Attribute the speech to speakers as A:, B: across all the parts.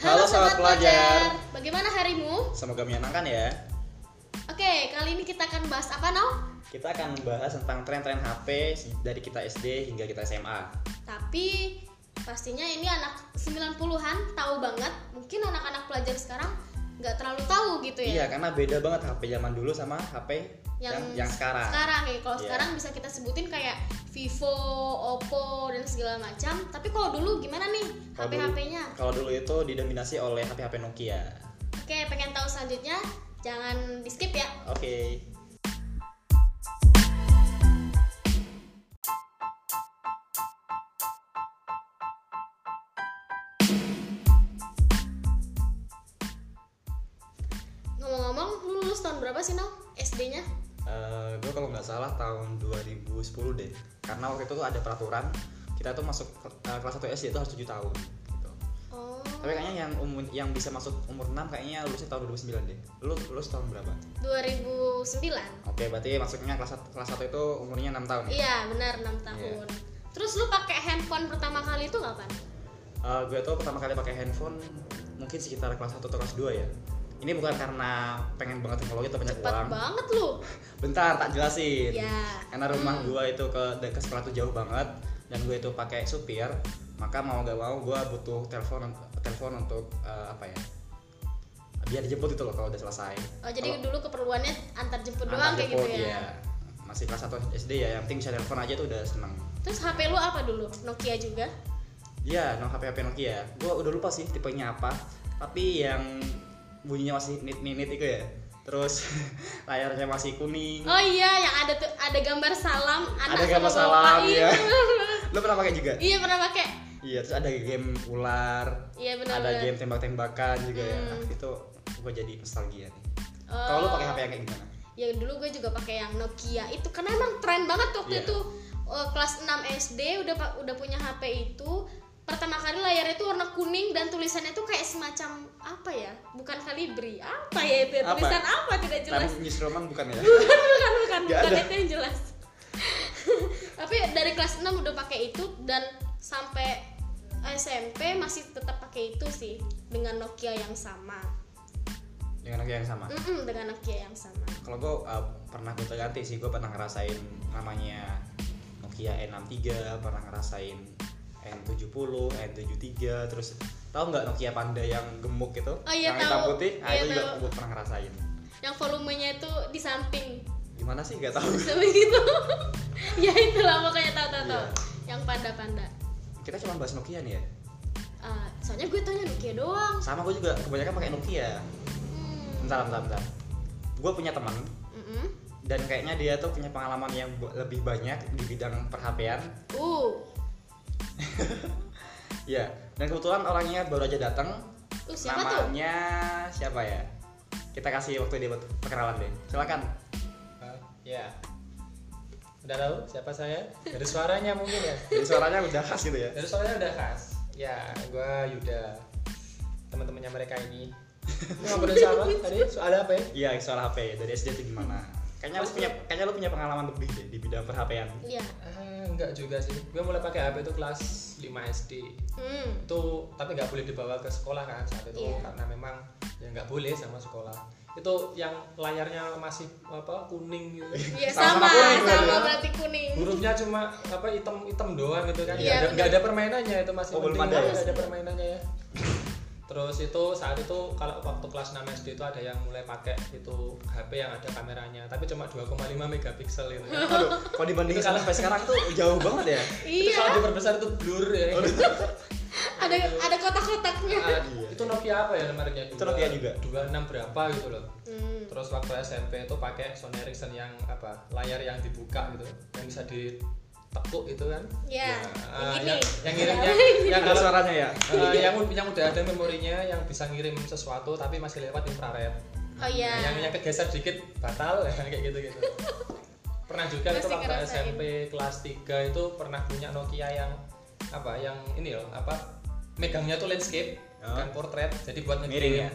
A: Sobat Pelajar.
B: Bagaimana harimu?
A: Semoga menyenangkan ya.
B: Oke, kali ini kita akan bahas apa, Nau?
A: Kita akan membahas tentang tren-tren HP dari kita SD hingga kita SMA.
B: Tapi pastinya ini anak 90-an tahu banget. Mungkin anak-anak pelajar sekarang nggak terlalu tahu gitu ya.
A: Iya, karena beda banget HP zaman dulu sama HP yang yang, sekarang.
B: Sekarang ya, kalau
A: Iya.
B: sekarang bisa kita sebutin kayak Vivo, Oppo dan segala macam. Tapi kalau dulu gimana nih
A: Kalau dulu-
B: HP-HP-nya?
A: Kalau dulu itu didominasi oleh HP-HP Nokia.
B: Oke, pengen tahu selanjutnya? Jangan di-skip ya.
A: Oke.
B: Ngomong-ngomong, lu lulus tahun berapa sih, Nau? SD-nya?
A: gue eh, kalau nggak salah tahun 2010 deh. Karena waktu itu tuh ada peraturan kita tuh masuk ke- eh, kelas 1 SD itu harus 7 tahun. Gitu.
B: Oh.
A: Tapi kayaknya yang umur, yang bisa masuk umur 6 kayaknya lulusnya tahun 2009 deh. Lu lulus tahun berapa?
B: Oh, 2009.
A: Oke, berarti masuknya kelas sat- kelas 1 itu umurnya 6 tahun. ya?
B: Iya benar 6 tahun.
A: Iya.
B: Terus lu pakai handphone pertama kali itu kapan?
A: Eh, gue tuh pertama kali pakai handphone mungkin sekitar kelas 1 atau kelas 2 ya. Ini bukan karena pengen banget teknologi atau banyak
B: Cepat
A: uang.
B: banget lu.
A: Bentar, tak jelasin.
B: Iya.
A: Karena rumah gue itu ke de- ke sekolah tuh jauh banget dan gue itu pakai supir, maka mau gak mau gue butuh telepon telepon untuk eh, apa ya? Biar dijemput itu loh kalau udah selesai.
B: Oh jadi
A: Kalau-
B: dulu keperluannya antar jemput doang
A: Anak
B: kayak gitu
A: jemput,
B: ya.
A: iya. Masih kelas 1 SD ya, yang penting bisa telepon aja tuh udah seneng.
B: Terus HP lu apa dulu? Nokia juga.
A: Iya, no HP HP Nokia. Gua udah lupa sih tipenya apa, tapi yang bunyinya masih nit-nit itu ya. Terus layarnya masih kuning.
B: Oh iya yang ada tuh ada gambar salam
A: Hmm.
B: anak
A: Ada gambar
B: sama
A: salam,
B: bapak.
A: iya.
B: Iya.
A: Lo pernah pakai juga?
B: iya pernah pakai.
A: Iya, terus ada game ular,
B: Iya benar.
A: ada game tembak-tembakan juga ya.
B: Hmm. Oh.
A: Itu gue jadi nostalgia nih. Kalau lo pakai HP yang kayak gimana?
B: ya dulu gue juga pakai yang Nokia itu karena emang tren banget waktu
A: Iya.
B: itu Eh, kelas 6 SD udah pa- udah punya HP itu pertama kali layarnya itu warna kuning dan tulisannya itu kayak semacam apa ya bukan kalibri apa ya itu ya?
A: Apa?
B: tulisan apa tidak jelas
A: Time Newsroom bukan ya?
B: bukan bukan bukan
A: Nggak
B: bukan
A: ada.
B: itu yang jelas tapi dari kelas 6 udah pakai itu dan sampai SMP masih tetap pakai itu sih dengan Nokia yang sama
A: Dengan Nokia yang sama.
B: Mm-mm, dengan Nokia yang sama
A: Kalau gue pernah gue ganti sih, gue pernah ngerasain namanya Nokia N63, pernah ngerasain N70, N73, terus tahu nggak Nokia Panda yang gemuk itu?
B: Oh iya,
A: yang hitam
B: tahu.
A: putih, nah,
B: Iya,
A: itu juga
B: tahu.
A: gue pernah ngerasain.
B: yang volumenya itu di samping
A: Gimana sih nggak tahu.
B: Sampai gitu ya itulah pokoknya tahu tahu tahu
A: Iya.
B: yang panda-panda
A: Kita cuma bahas Nokia nih ya.
B: Ah, soalnya gue tanya Nokia doang
A: Sama gue juga kebanyakan pakai Nokia.
B: hmm.
A: Bentar, bentar, bentar. Gue punya teman
B: Mm-mm.
A: dan kayaknya dia tuh punya pengalaman yang bu- lebih banyak di bidang perhapean
B: uh
A: Iya, dan kebetulan orangnya baru aja datang.
B: Uh, siapa tuh?
A: Namanya siapa ya? Kita kasih waktu dia buat perkenalan deh. Silakan.
C: Hah? Ya. Udah tahu siapa saya? Dari suaranya mungkin ya.
A: Jadi suaranya udah khas gitu ya.
C: Dari suaranya udah khas. Ya, gua Yuda. Teman-temannya mereka ini. Ini Ngobrolin siapa tadi? Soal apa ya?
A: Iya, suara HP dari SD itu gimana? Kayaknya lu punya kayaknya lu punya pengalaman lebih deh di bidang perhapean.
B: iya
C: Ah, enggak juga sih. Gue mulai pakai HP itu kelas 5 SD.
B: hmm.
C: Itu tapi nggak boleh dibawa ke sekolah kan saat itu
B: Iya.
C: karena memang ya nggak boleh sama sekolah. Itu yang layarnya masih apa kuning gitu.
B: Iya
A: Sama-sama
B: sama sama,
A: kuning berarti ya.
B: berarti kuning
C: hurufnya cuma apa hitam hitam doang gitu kan
B: Iya,
C: nggak ada,
B: bener.
C: nggak ada permainannya itu masih
A: Oh, belum
C: penting
A: ada
C: banget,
A: ya?
C: nggak ada permainannya ya terus itu saat itu kalau waktu kelas 6 SD itu ada yang mulai pakai itu HP yang ada kameranya tapi cuma 2,5 megapiksel gitu kan.
A: Aduh, kalau dibandingin
C: Itu
A: sama sampai
C: kalau-
A: sekarang tuh jauh banget ya.
C: itu
B: iya
C: kalau diperbesar itu blur ya
A: Oh, iya.
B: ada ada kotak-kotaknya
C: Ah, itu Nokia apa ya mereknya
A: Itu Nokia juga.
C: 26 berapa gitu loh
B: hmm.
C: terus waktu SMP itu pakai Sony Ericsson yang apa layar yang dibuka gitu yang bisa ditekuk itu kan
B: ya
C: Ah,
B: yang
C: yang,
B: gini
C: yang ngirimnya yang
A: Ada
C: kalau
A: suaranya ya.
C: Eh, yang yang udah ada memorinya yang bisa ngirim sesuatu tapi masih lewat infrared.
B: oh
C: Nah,
B: iya
C: Yang yang kegeser dikit batal kayak gitu-gitu. pernah juga itu
B: Masih
C: waktu
B: ngerasain.
C: SMP kelas 3 itu pernah punya Nokia yang apa yang ini loh apa megangnya tuh landscape
A: Oh.
C: bukan portrait jadi buat
A: Miring
C: ngetik
A: ya?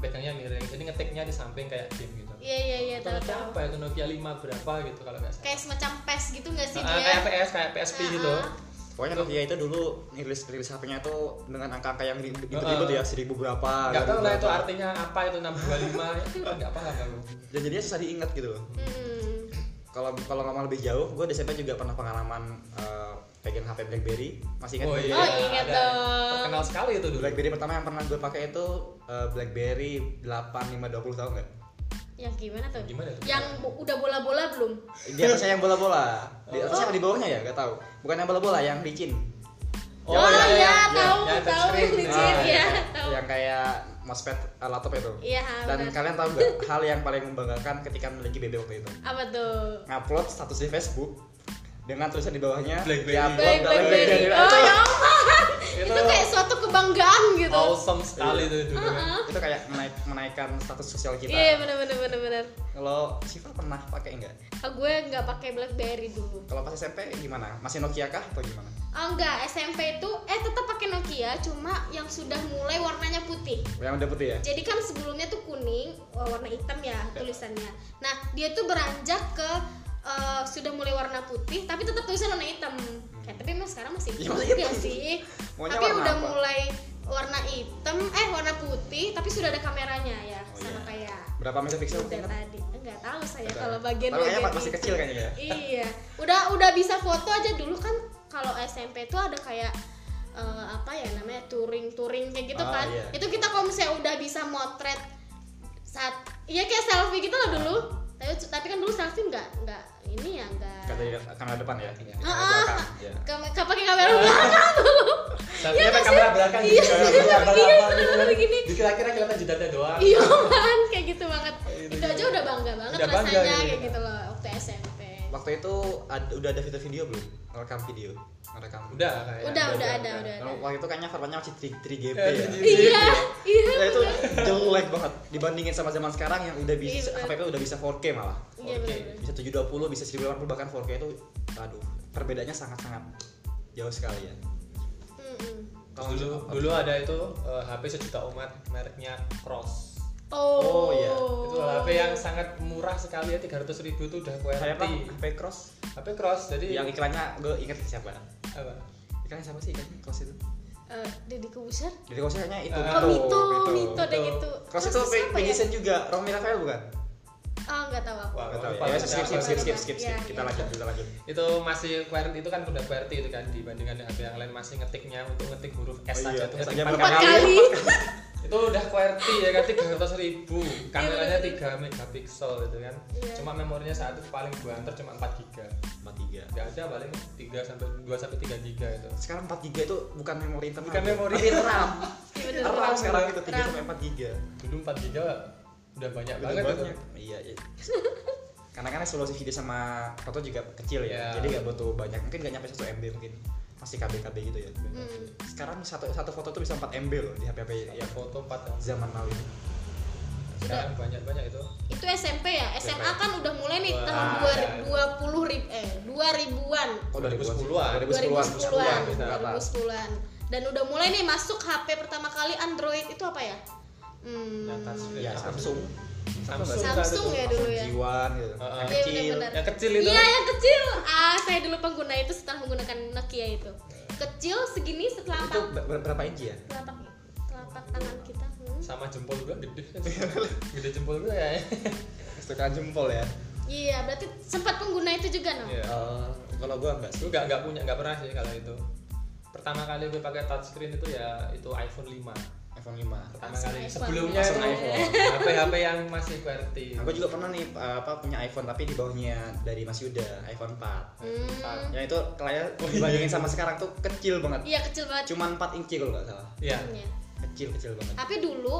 C: megangnya miring jadi ngetiknya di samping kayak game gitu
B: iya iya iya
C: itu
B: tahu
C: Nokia
B: tahu
C: apa itu Nokia 5 berapa gitu kalau nggak salah
B: kayak semacam pes gitu nggak sih
C: Ah,
B: dia
C: kayak PS kayak PSP gitu
B: Ah, ah.
A: Pokoknya Nokia itu dulu rilis rilis HP-nya tuh dengan angka-angka yang ri- ribet-ribet ya seribu berapa.
C: nggak tahu
A: gitu.
C: lah itu artinya apa itu 625 itu nggak paham aku
A: Ya jadinya susah diingat gitu.
B: Hmm.
A: Kalau kalau ngomong lebih jauh, gue di SMP juga pernah pengalaman eh, pegang HP BlackBerry. Masih ingat?
C: oh
A: nggak?
C: iya
B: Oh, ingat
C: ada.
B: dong.
C: terkenal sekali itu dulu
A: BlackBerry pertama yang pernah gue pakai itu eh, BlackBerry 8520 tau nggak?
B: Yang gimana tuh?
C: Gimana tuh?
B: Yang bu- udah bola-bola belum?
A: Di atasnya yang bola-bola. Di atasnya apa di bawahnya ya? Gak tau. Bukan yang bola-bola, yang licin.
B: Oh, iya, tahu,
C: yang
B: tahu yang
C: touchscreen.
B: licin
A: Ah,
B: ya.
A: iya.
B: Tahu.
A: Yang kayak mousepad eh, laptop itu.
B: Iya,
A: Dan
B: benar.
A: kalian tahu nggak hal yang paling membanggakan ketika memiliki BB waktu itu?
B: Apa tuh?
A: Ngupload status di Facebook dengan tulisan di bawahnya
C: Blackberry.
A: diupload
B: Black
A: dalam
B: Blackberry.
A: BlackBerry.
B: Oh, ya
A: Itu-
B: ampun.
C: Itu-
B: Itu kayak suatu kebanggaan gitu.
C: awesome sekali itu dulu
B: Heeh.
A: Itu kayak menaik- menaikkan status sosial kita.
B: Iya, bener bener bener bener.
A: Kalau Siva pernah pakai nggak?
B: Ah, gue nggak pakai BlackBerry dulu.
A: Kalau pas SMP gimana? Masih Nokia kah atau gimana?
B: Oh enggak, SMP itu eh tetap pakai Nokia, cuma yang sudah mulai warnanya putih.
A: Yang udah putih ya?
B: Jadi kan sebelumnya tuh kuning wah, warna hitam
A: Iya.
B: ya tulisannya. Nah dia tuh beranjak ke eh, sudah mulai warna putih tapi tetap tulisan warna hitam. Kayak tapi emang sekarang
A: Ya,
B: masih hitam
A: Hmm. masih
B: juga
A: hitam.
B: sih.
A: Maunya
B: tapi
A: warna
B: udah
A: apa?
B: mulai warna hitam eh warna putih tapi sudah ada kameranya ya
A: Oh,
B: sama
A: iya.
B: kayak
A: Berapa megapiksel?
B: udah tadi enggak tahu saya
A: Nggak
B: Iya, kalau
A: tahu.
B: bagian
A: Tapi kayaknya
B: bagian
A: masih
B: itu.
A: kecil kayaknya ya?
B: iya udah udah bisa foto aja dulu kan kalau SMP tuh ada kayak eh, apa ya namanya touring touring kayak gitu
A: Ah,
B: kan
A: iya.
B: itu kita kalau misalnya udah bisa motret saat iya kayak selfie gitu lah dulu tapi tapi kan dulu selfie nggak nggak ini ya nggak
A: Kata di kamera depan ya? Iya.
B: Ah,
A: Kamera
B: ah,
A: belakang. Iya.
B: Kam- ka- pakai kamera belakang dulu Iya,
C: tapi pakai kamera belakang gitu kamera belakang apa gitu kan.
B: begini.
C: dikira-kira kelihatan jidatnya doang
B: iya kan kayak gitu banget
A: Iya,
C: Itu
B: itu aja
C: juga.
B: udah bangga banget
C: Udah bangga
B: rasanya
C: gitu.
B: kayak gitu loh waktu SMP
A: Waktu itu ad- udah ada fitur video belum? Ngerekam video? Ngerekam
C: udah kayak
B: udah udah ada udah ada
A: Kalau waktu itu kayaknya formatnya masih 3, 3GP
C: Eh,
A: ya.
C: 3GP.
B: iya iya
A: Ya itu jelek banget dibandingin sama zaman sekarang yang udah bisa
B: Iya, bener.
A: HP udah bisa 4K malah.
B: Iya
C: Oke.
B: benar.
A: Bisa 720, bisa 1080 bahkan 4K itu aduh, perbedaannya sangat-sangat jauh sekali ya.
C: Terus dulu dulu ada itu eh, HP sejuta umat mereknya Cross
B: Oh.
A: Oh, iya.
C: itu HP yang sangat murah sekali ya 300.000 ribu itu udah kue
A: Saya apa?
C: hati
A: HP Cross
C: HP Cross jadi
A: yang iklannya gue inget siapa.
C: apa
A: Iklannya siapa sih iklannya Cross itu?
B: Eh, Deddy Corbuzier.
A: Jadi Cross kayaknya itu.
C: Ah,
B: Oh, Mito, Mito deh
C: Mito.
B: gitu.
A: Cross
B: Terus
A: itu
B: siapa ya?
A: Vincent juga, Romi Rafael bukan?
B: Ah, enggak tahu aku.
C: Wah,
A: Gak tau
C: lupa
A: ya. Ya,
C: namanya
A: skip skip
C: apa.
A: skip skip skip. skip.
B: Ya,
A: Kita
B: ya.
A: lanjut, kita lanjut.
C: itu masih QWERTY itu kan udah QWERTY itu kan dibandingkan HP yang lain masih ngetiknya untuk ngetik huruf S
A: Oh,
C: aja
A: iya.
C: tuh
A: S
C: masih
A: aja
C: empat
A: empat
B: Empat
C: kali.
B: kali.
C: itu udah QWERTY ya kan 300.000 ribu kameranya
B: bener-bener.
C: 3 megapiksel gitu kan
B: Iya.
C: cuma memorinya saat itu paling gua antar cuma 4 giga
A: 43.
C: nggak ada paling 3 sampai 2 sampai 3 giga itu
A: Sekarang 4 GB itu bukan memori internal.
C: Bukan memori.
A: tapi RAM.
B: Iya, bener.
A: RAM sekarang itu 3
B: RAM.
A: sampai 4 GB.
C: dulu 4 giga udah banyak
A: Udah
C: banget itu
A: banyak. Iya, iya. Karena kan resolusi video sama foto juga kecil ya.
C: Iya.
A: Jadi nggak butuh banyak. Mungkin nggak nyampe 1 MB mungkin. Masih KB-KB gitu ya.
B: Hmm.
A: Sekarang satu satu foto tuh bisa 4 MB loh di HP-HP
C: ya
A: yang
C: foto 4 yang
A: zaman now itu.
C: sekarang banyak-banyak itu
B: Itu SMP ya. SMA kan udah mulai nih
C: Wah,
B: tahun
C: iya.
B: 20 ribu eh 2000-an.
A: Oh, 2010-an. 2010-an.
C: 2010-an.
B: 2010-an.
A: 2010-an. ke atas.
B: 2010-an. Dan udah mulai nih masuk HP pertama kali Android itu apa ya? Hmm.
C: yang touchscreen
A: Ya, Samsung.
C: Samsung,
B: Samsung ya
C: itu.
B: dulu ya.
A: Jiwan gitu.
C: Heeh.
A: Yang
B: Iya,
A: kecil.
B: benar-benar.
C: yang kecil itu
B: Iya yang kecil. Ah saya dulu pengguna itu setelah menggunakan Nokia itu. Kecil segini
A: Itu
B: setelapak
A: ber- berapa inci ya?
B: telapak telapak tangan kita. Hmm.
C: sama jempol juga gede gede jempol gue ya
A: Setekan jempol ya.
B: Iya berarti sempat pengguna itu juga no.
C: Iya.
A: Eh, kalau gua enggak sih.
C: gue nggak nggak punya nggak pernah sih kalau itu pertama kali gue pakai touchscreen itu ya itu iPhone 5
A: iPhone 5.
C: pertama
B: Langsung
C: kali
B: iPhone. Iya,
C: sebelumnya itu
A: Langsung iPhone.
C: HP HP yang masih QWERTY
A: Aku juga pernah nih eh, apa punya iPhone tapi di bawahnya dari Mas Yuda, iPhone 4.
B: Hmm.
A: Yang itu kayaknya dibandingin sama sekarang tuh kecil banget.
B: Iya kecil banget.
A: Cuman 4 inci kalau nggak salah.
C: ya
B: Iya.
A: Kecil kecil banget.
B: Tapi dulu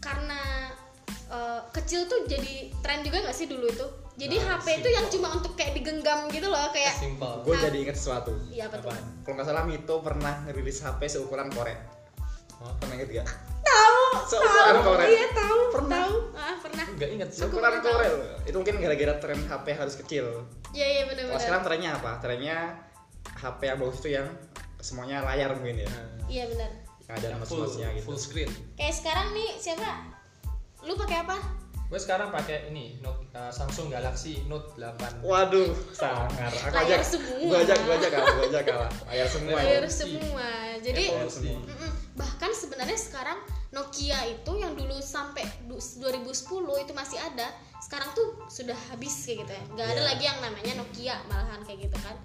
B: karena eh, kecil tuh jadi tren juga nggak sih dulu itu. Jadi
C: Nah,
B: HP itu yang cuma untuk kayak digenggam gitu loh kayak.
C: simple
A: Gue jadi inget sesuatu.
B: Iya apa tuh?
C: Apaan?
A: Kalau nggak salah Mito pernah ngerilis HP seukuran korek.
C: Hah?
A: Pernah inget gak?
B: Tahu.
A: Seukuran
B: tahu.
A: korek.
B: Iya tahu.
A: Pernah.
B: Tahu. Ah pernah.
C: nggak inget sih
B: Aku
A: Seukuran
B: pernah
A: korek. loh. Itu mungkin gara-gara tren HP harus kecil.
B: Iya iya
A: Kalau
B: benar-benar.
A: sekarang trennya apa? Trennya HP yang bagus itu yang semuanya layar mungkin ya.
B: Iya benar.
A: Yang ada
C: Yang full
A: mas-masnya gitu.
C: full screen
B: Kayak sekarang nih siapa? Lu pakai apa?
C: gue sekarang pakai ini Nokia eh, Samsung Galaxy Note 8
A: Waduh, sangar. Aku
B: Layar
A: ajak.
B: semua.
A: Gua ajak, gua ajak, kalah, gua ajak kalah. Layar semua. ya.
B: Clear
C: Evolusi.
B: semua.
C: Iya,
B: Jadi
C: Evolusi.
B: mm-mm. bahkan sebenarnya sekarang Nokia itu yang dulu sampai du- 2010 itu masih ada, sekarang tuh sudah habis kayak gitu ya. Nggak ada
C: Iya.
B: lagi yang namanya Nokia malahan kayak gitu kan.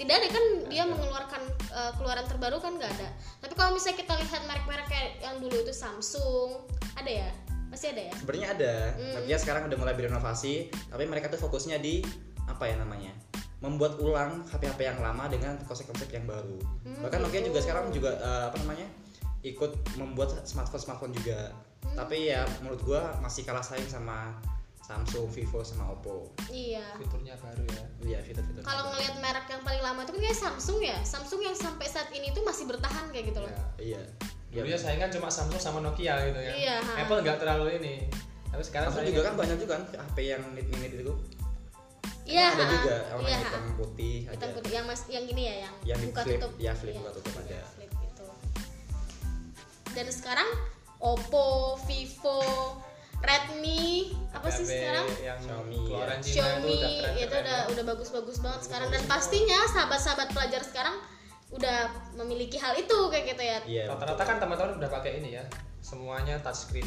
B: Tidak ada kan dia
C: ada.
B: mengeluarkan eh, keluaran terbaru kan nggak ada. Tapi kalau misalnya kita lihat merek-merek kayak yang dulu itu Samsung, ada ya? Masih ada ya?
A: Sebenarnya ada,
B: Mm.
A: tapi ya sekarang udah mulai berinovasi. Tapi mereka tuh fokusnya di apa ya namanya? Membuat ulang HP-HP yang lama dengan konsep-konsep yang baru.
B: Hmm,
A: Bahkan Nokia
B: gitu.
A: juga sekarang juga eh, apa namanya? ikut membuat smartphone-smartphone juga.
B: Hmm.
A: Tapi ya menurut gua masih kalah saing sama Samsung, Vivo sama Oppo.
B: Iya.
C: fiturnya baru ya
A: Iya, fitur-fitur.
B: Kalau ngelihat merek yang paling lama itu kan kayak Samsung ya. Samsung yang sampai saat ini tuh masih bertahan kayak gitu loh.
C: Ya.
A: Iya.
C: dulu ya saingan cuma Samsung sama Nokia gitu ya
B: Iya, ha.
C: Apple nggak terlalu ini tapi sekarang
A: Samsung juga kan banyak juga kan HP yang nit-nit itu.
B: Iya.
A: ada
B: ha.
A: juga orang
B: Iya, ha.
A: hitam putih ada.
B: hitam putih yang mas yang gini ya yang,
A: Yang di
B: buka
A: flip,
B: tutup
A: ya, flip
B: Iya,
A: buka tutup ada.
B: iya, flip gitu. dan sekarang Oppo Vivo Redmi apa sih
C: HP
B: sekarang
C: yang
A: Xiaomi,
C: keluaran Cina
B: Xiaomi
C: udah keren
B: itu
A: ya.
B: udah udah bagus-bagus banget sekarang dan pastinya sahabat-sahabat pelajar sekarang udah memiliki hal itu kayak gitu ya
A: Iya.
C: rata-rata kan teman-teman udah pakai ini ya semuanya touchscreen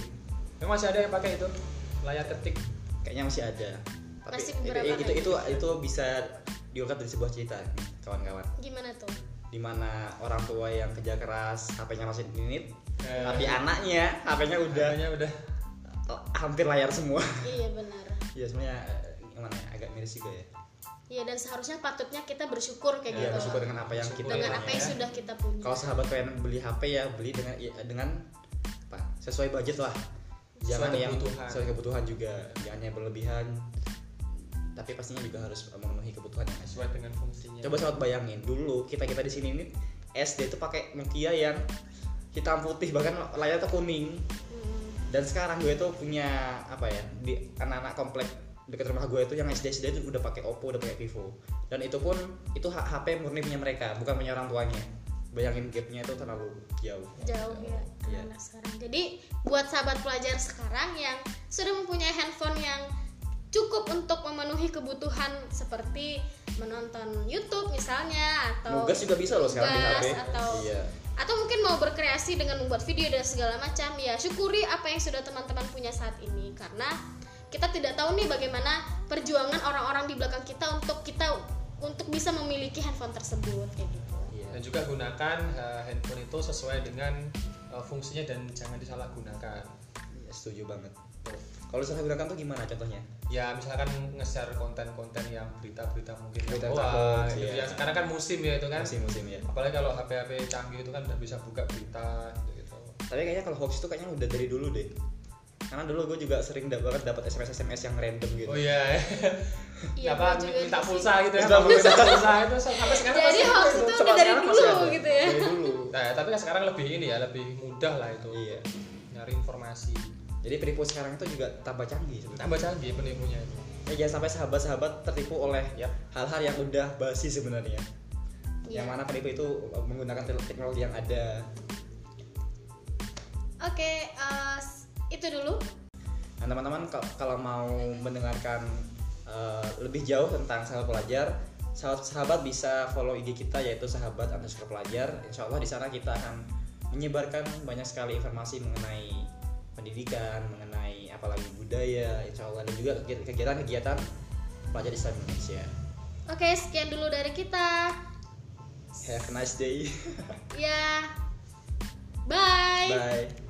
C: memang masih ada yang pakai itu layar ketik
A: Kayaknya masih ada. Tapi
B: Masih
A: itu,
B: beberapa
A: itu,
B: kayak
A: itu itu bisa diungkap dari sebuah cerita nih, kawan-kawan.
B: gimana tuh
A: Dimana orang tua yang kerja keras, HP-nya masih nit,
C: Eh,
A: tapi anaknya HP-nya udah
C: namanya udah
A: oh, hampir layar semua.
B: iya benar
A: ya sebenarnya eh, gimana ya, agak miris juga ya.
B: iya dan seharusnya patutnya kita bersyukur kayak
A: Iya,
B: gitu
A: bersyukur dengan apa yang kita
C: Bersyukur
B: dengan
A: punya
B: apa yang
A: ya.
B: sudah kita punya
A: Kalau sahabat kalian beli HP ya beli dengan dengan apa? Sesuai budget lah. Jangan
C: Sesuai
A: yang
C: kebutuhan.
A: sesuai kebutuhan juga, jangan yang berlebihan. Tapi pastinya juga harus memenuhi kebutuhan yang ada.
C: sesuai dengan fungsinya
A: Coba sahabat bayangin dulu kita kita di sini ini SD itu pakai Nokia yang hitam putih bahkan layar tuh kuning
B: Mm.
A: dan sekarang gue tuh punya apa ya di anak-anak komplek dekat rumah gue itu yang SD SD itu udah pakai Oppo udah pakai Vivo dan itu pun itu hak- HP murni punya mereka bukan punya orang tuanya bayangin gapnya itu terlalu jauh
B: jauh ya ke
A: Iya.
B: anak sekarang. Jadi buat sahabat pelajar sekarang yang sudah mempunyai handphone yang cukup untuk memenuhi kebutuhan seperti menonton YouTube misalnya atau
A: nugas juga bisa loh sekarang di
B: nugas
A: HP
B: atau-
A: iya
B: atau mungkin mau berkreasi dengan membuat video dan segala macam ya syukuri apa yang sudah teman-teman punya saat ini karena kita tidak tahu nih bagaimana perjuangan orang-orang di belakang kita untuk kita untuk bisa memiliki handphone tersebut kayak gitu.
A: iya
C: dan juga gunakan eh, handphone itu sesuai dengan eh, fungsinya dan jangan disalahgunakan
A: Iya, setuju banget kalau salah gunakan tuh gimana contohnya
C: ya misalkan nge-share konten-konten yang berita-berita mungkin
A: Berita
C: yang
A: hoax,
C: hoax gitu
A: iya.
C: ya sekarang kan musim ya itu kan
A: musim-musim ya
C: apalagi kalau HP-HP canggih itu kan udah bisa buka berita gitu, -gitu.
A: tapi kayaknya kalau hoax itu kayaknya udah dari dulu deh karena dulu gue juga sering da- banget dapat SMS SMS yang random gitu
C: oh iya
B: Iya,
C: apa
B: gue juga
C: minta
B: di-
C: pulsa gitu ya
A: Minta pulsa.
C: minta pulsa itu sampai sekarang
B: Jadi
C: masih
B: hoax
C: ada
B: itu
A: Sampai
B: dari
A: sekarang masih
B: dulu
A: ada.
B: gitu ya.
A: dari dulu
C: nah tapi kan sekarang lebih ini ya lebih mudah lah itu
A: iya
C: nyari informasi
A: jadi penipu sekarang itu juga tambah canggih sebenarnya
C: tambah canggih penipunya itu
A: Ya, jangan sampai sahabat-sahabat tertipu oleh
C: Yap.
A: hal-hal yang udah basi sebenarnya.
B: Iya.
A: Yang mana penipu itu menggunakan te- teknologi yang ada.
B: Oke, eh, s- itu dulu.
A: Nah, teman-teman kal- kalau mau mendengarkan eh, lebih jauh tentang sahabat pelajar, sahabat, sahabat bisa follow IG kita yaitu sahabat underscore pelajar. Insya Allah di sana kita akan menyebarkan banyak sekali informasi mengenai pendidikan, mengenai apalagi budaya, insya Allah dan juga kegi- kegiatan-kegiatan pelajar Islam Indonesia.
B: Oke, sekian dulu dari kita.
A: Have a nice day.
B: Ya. Bye.
A: Bye.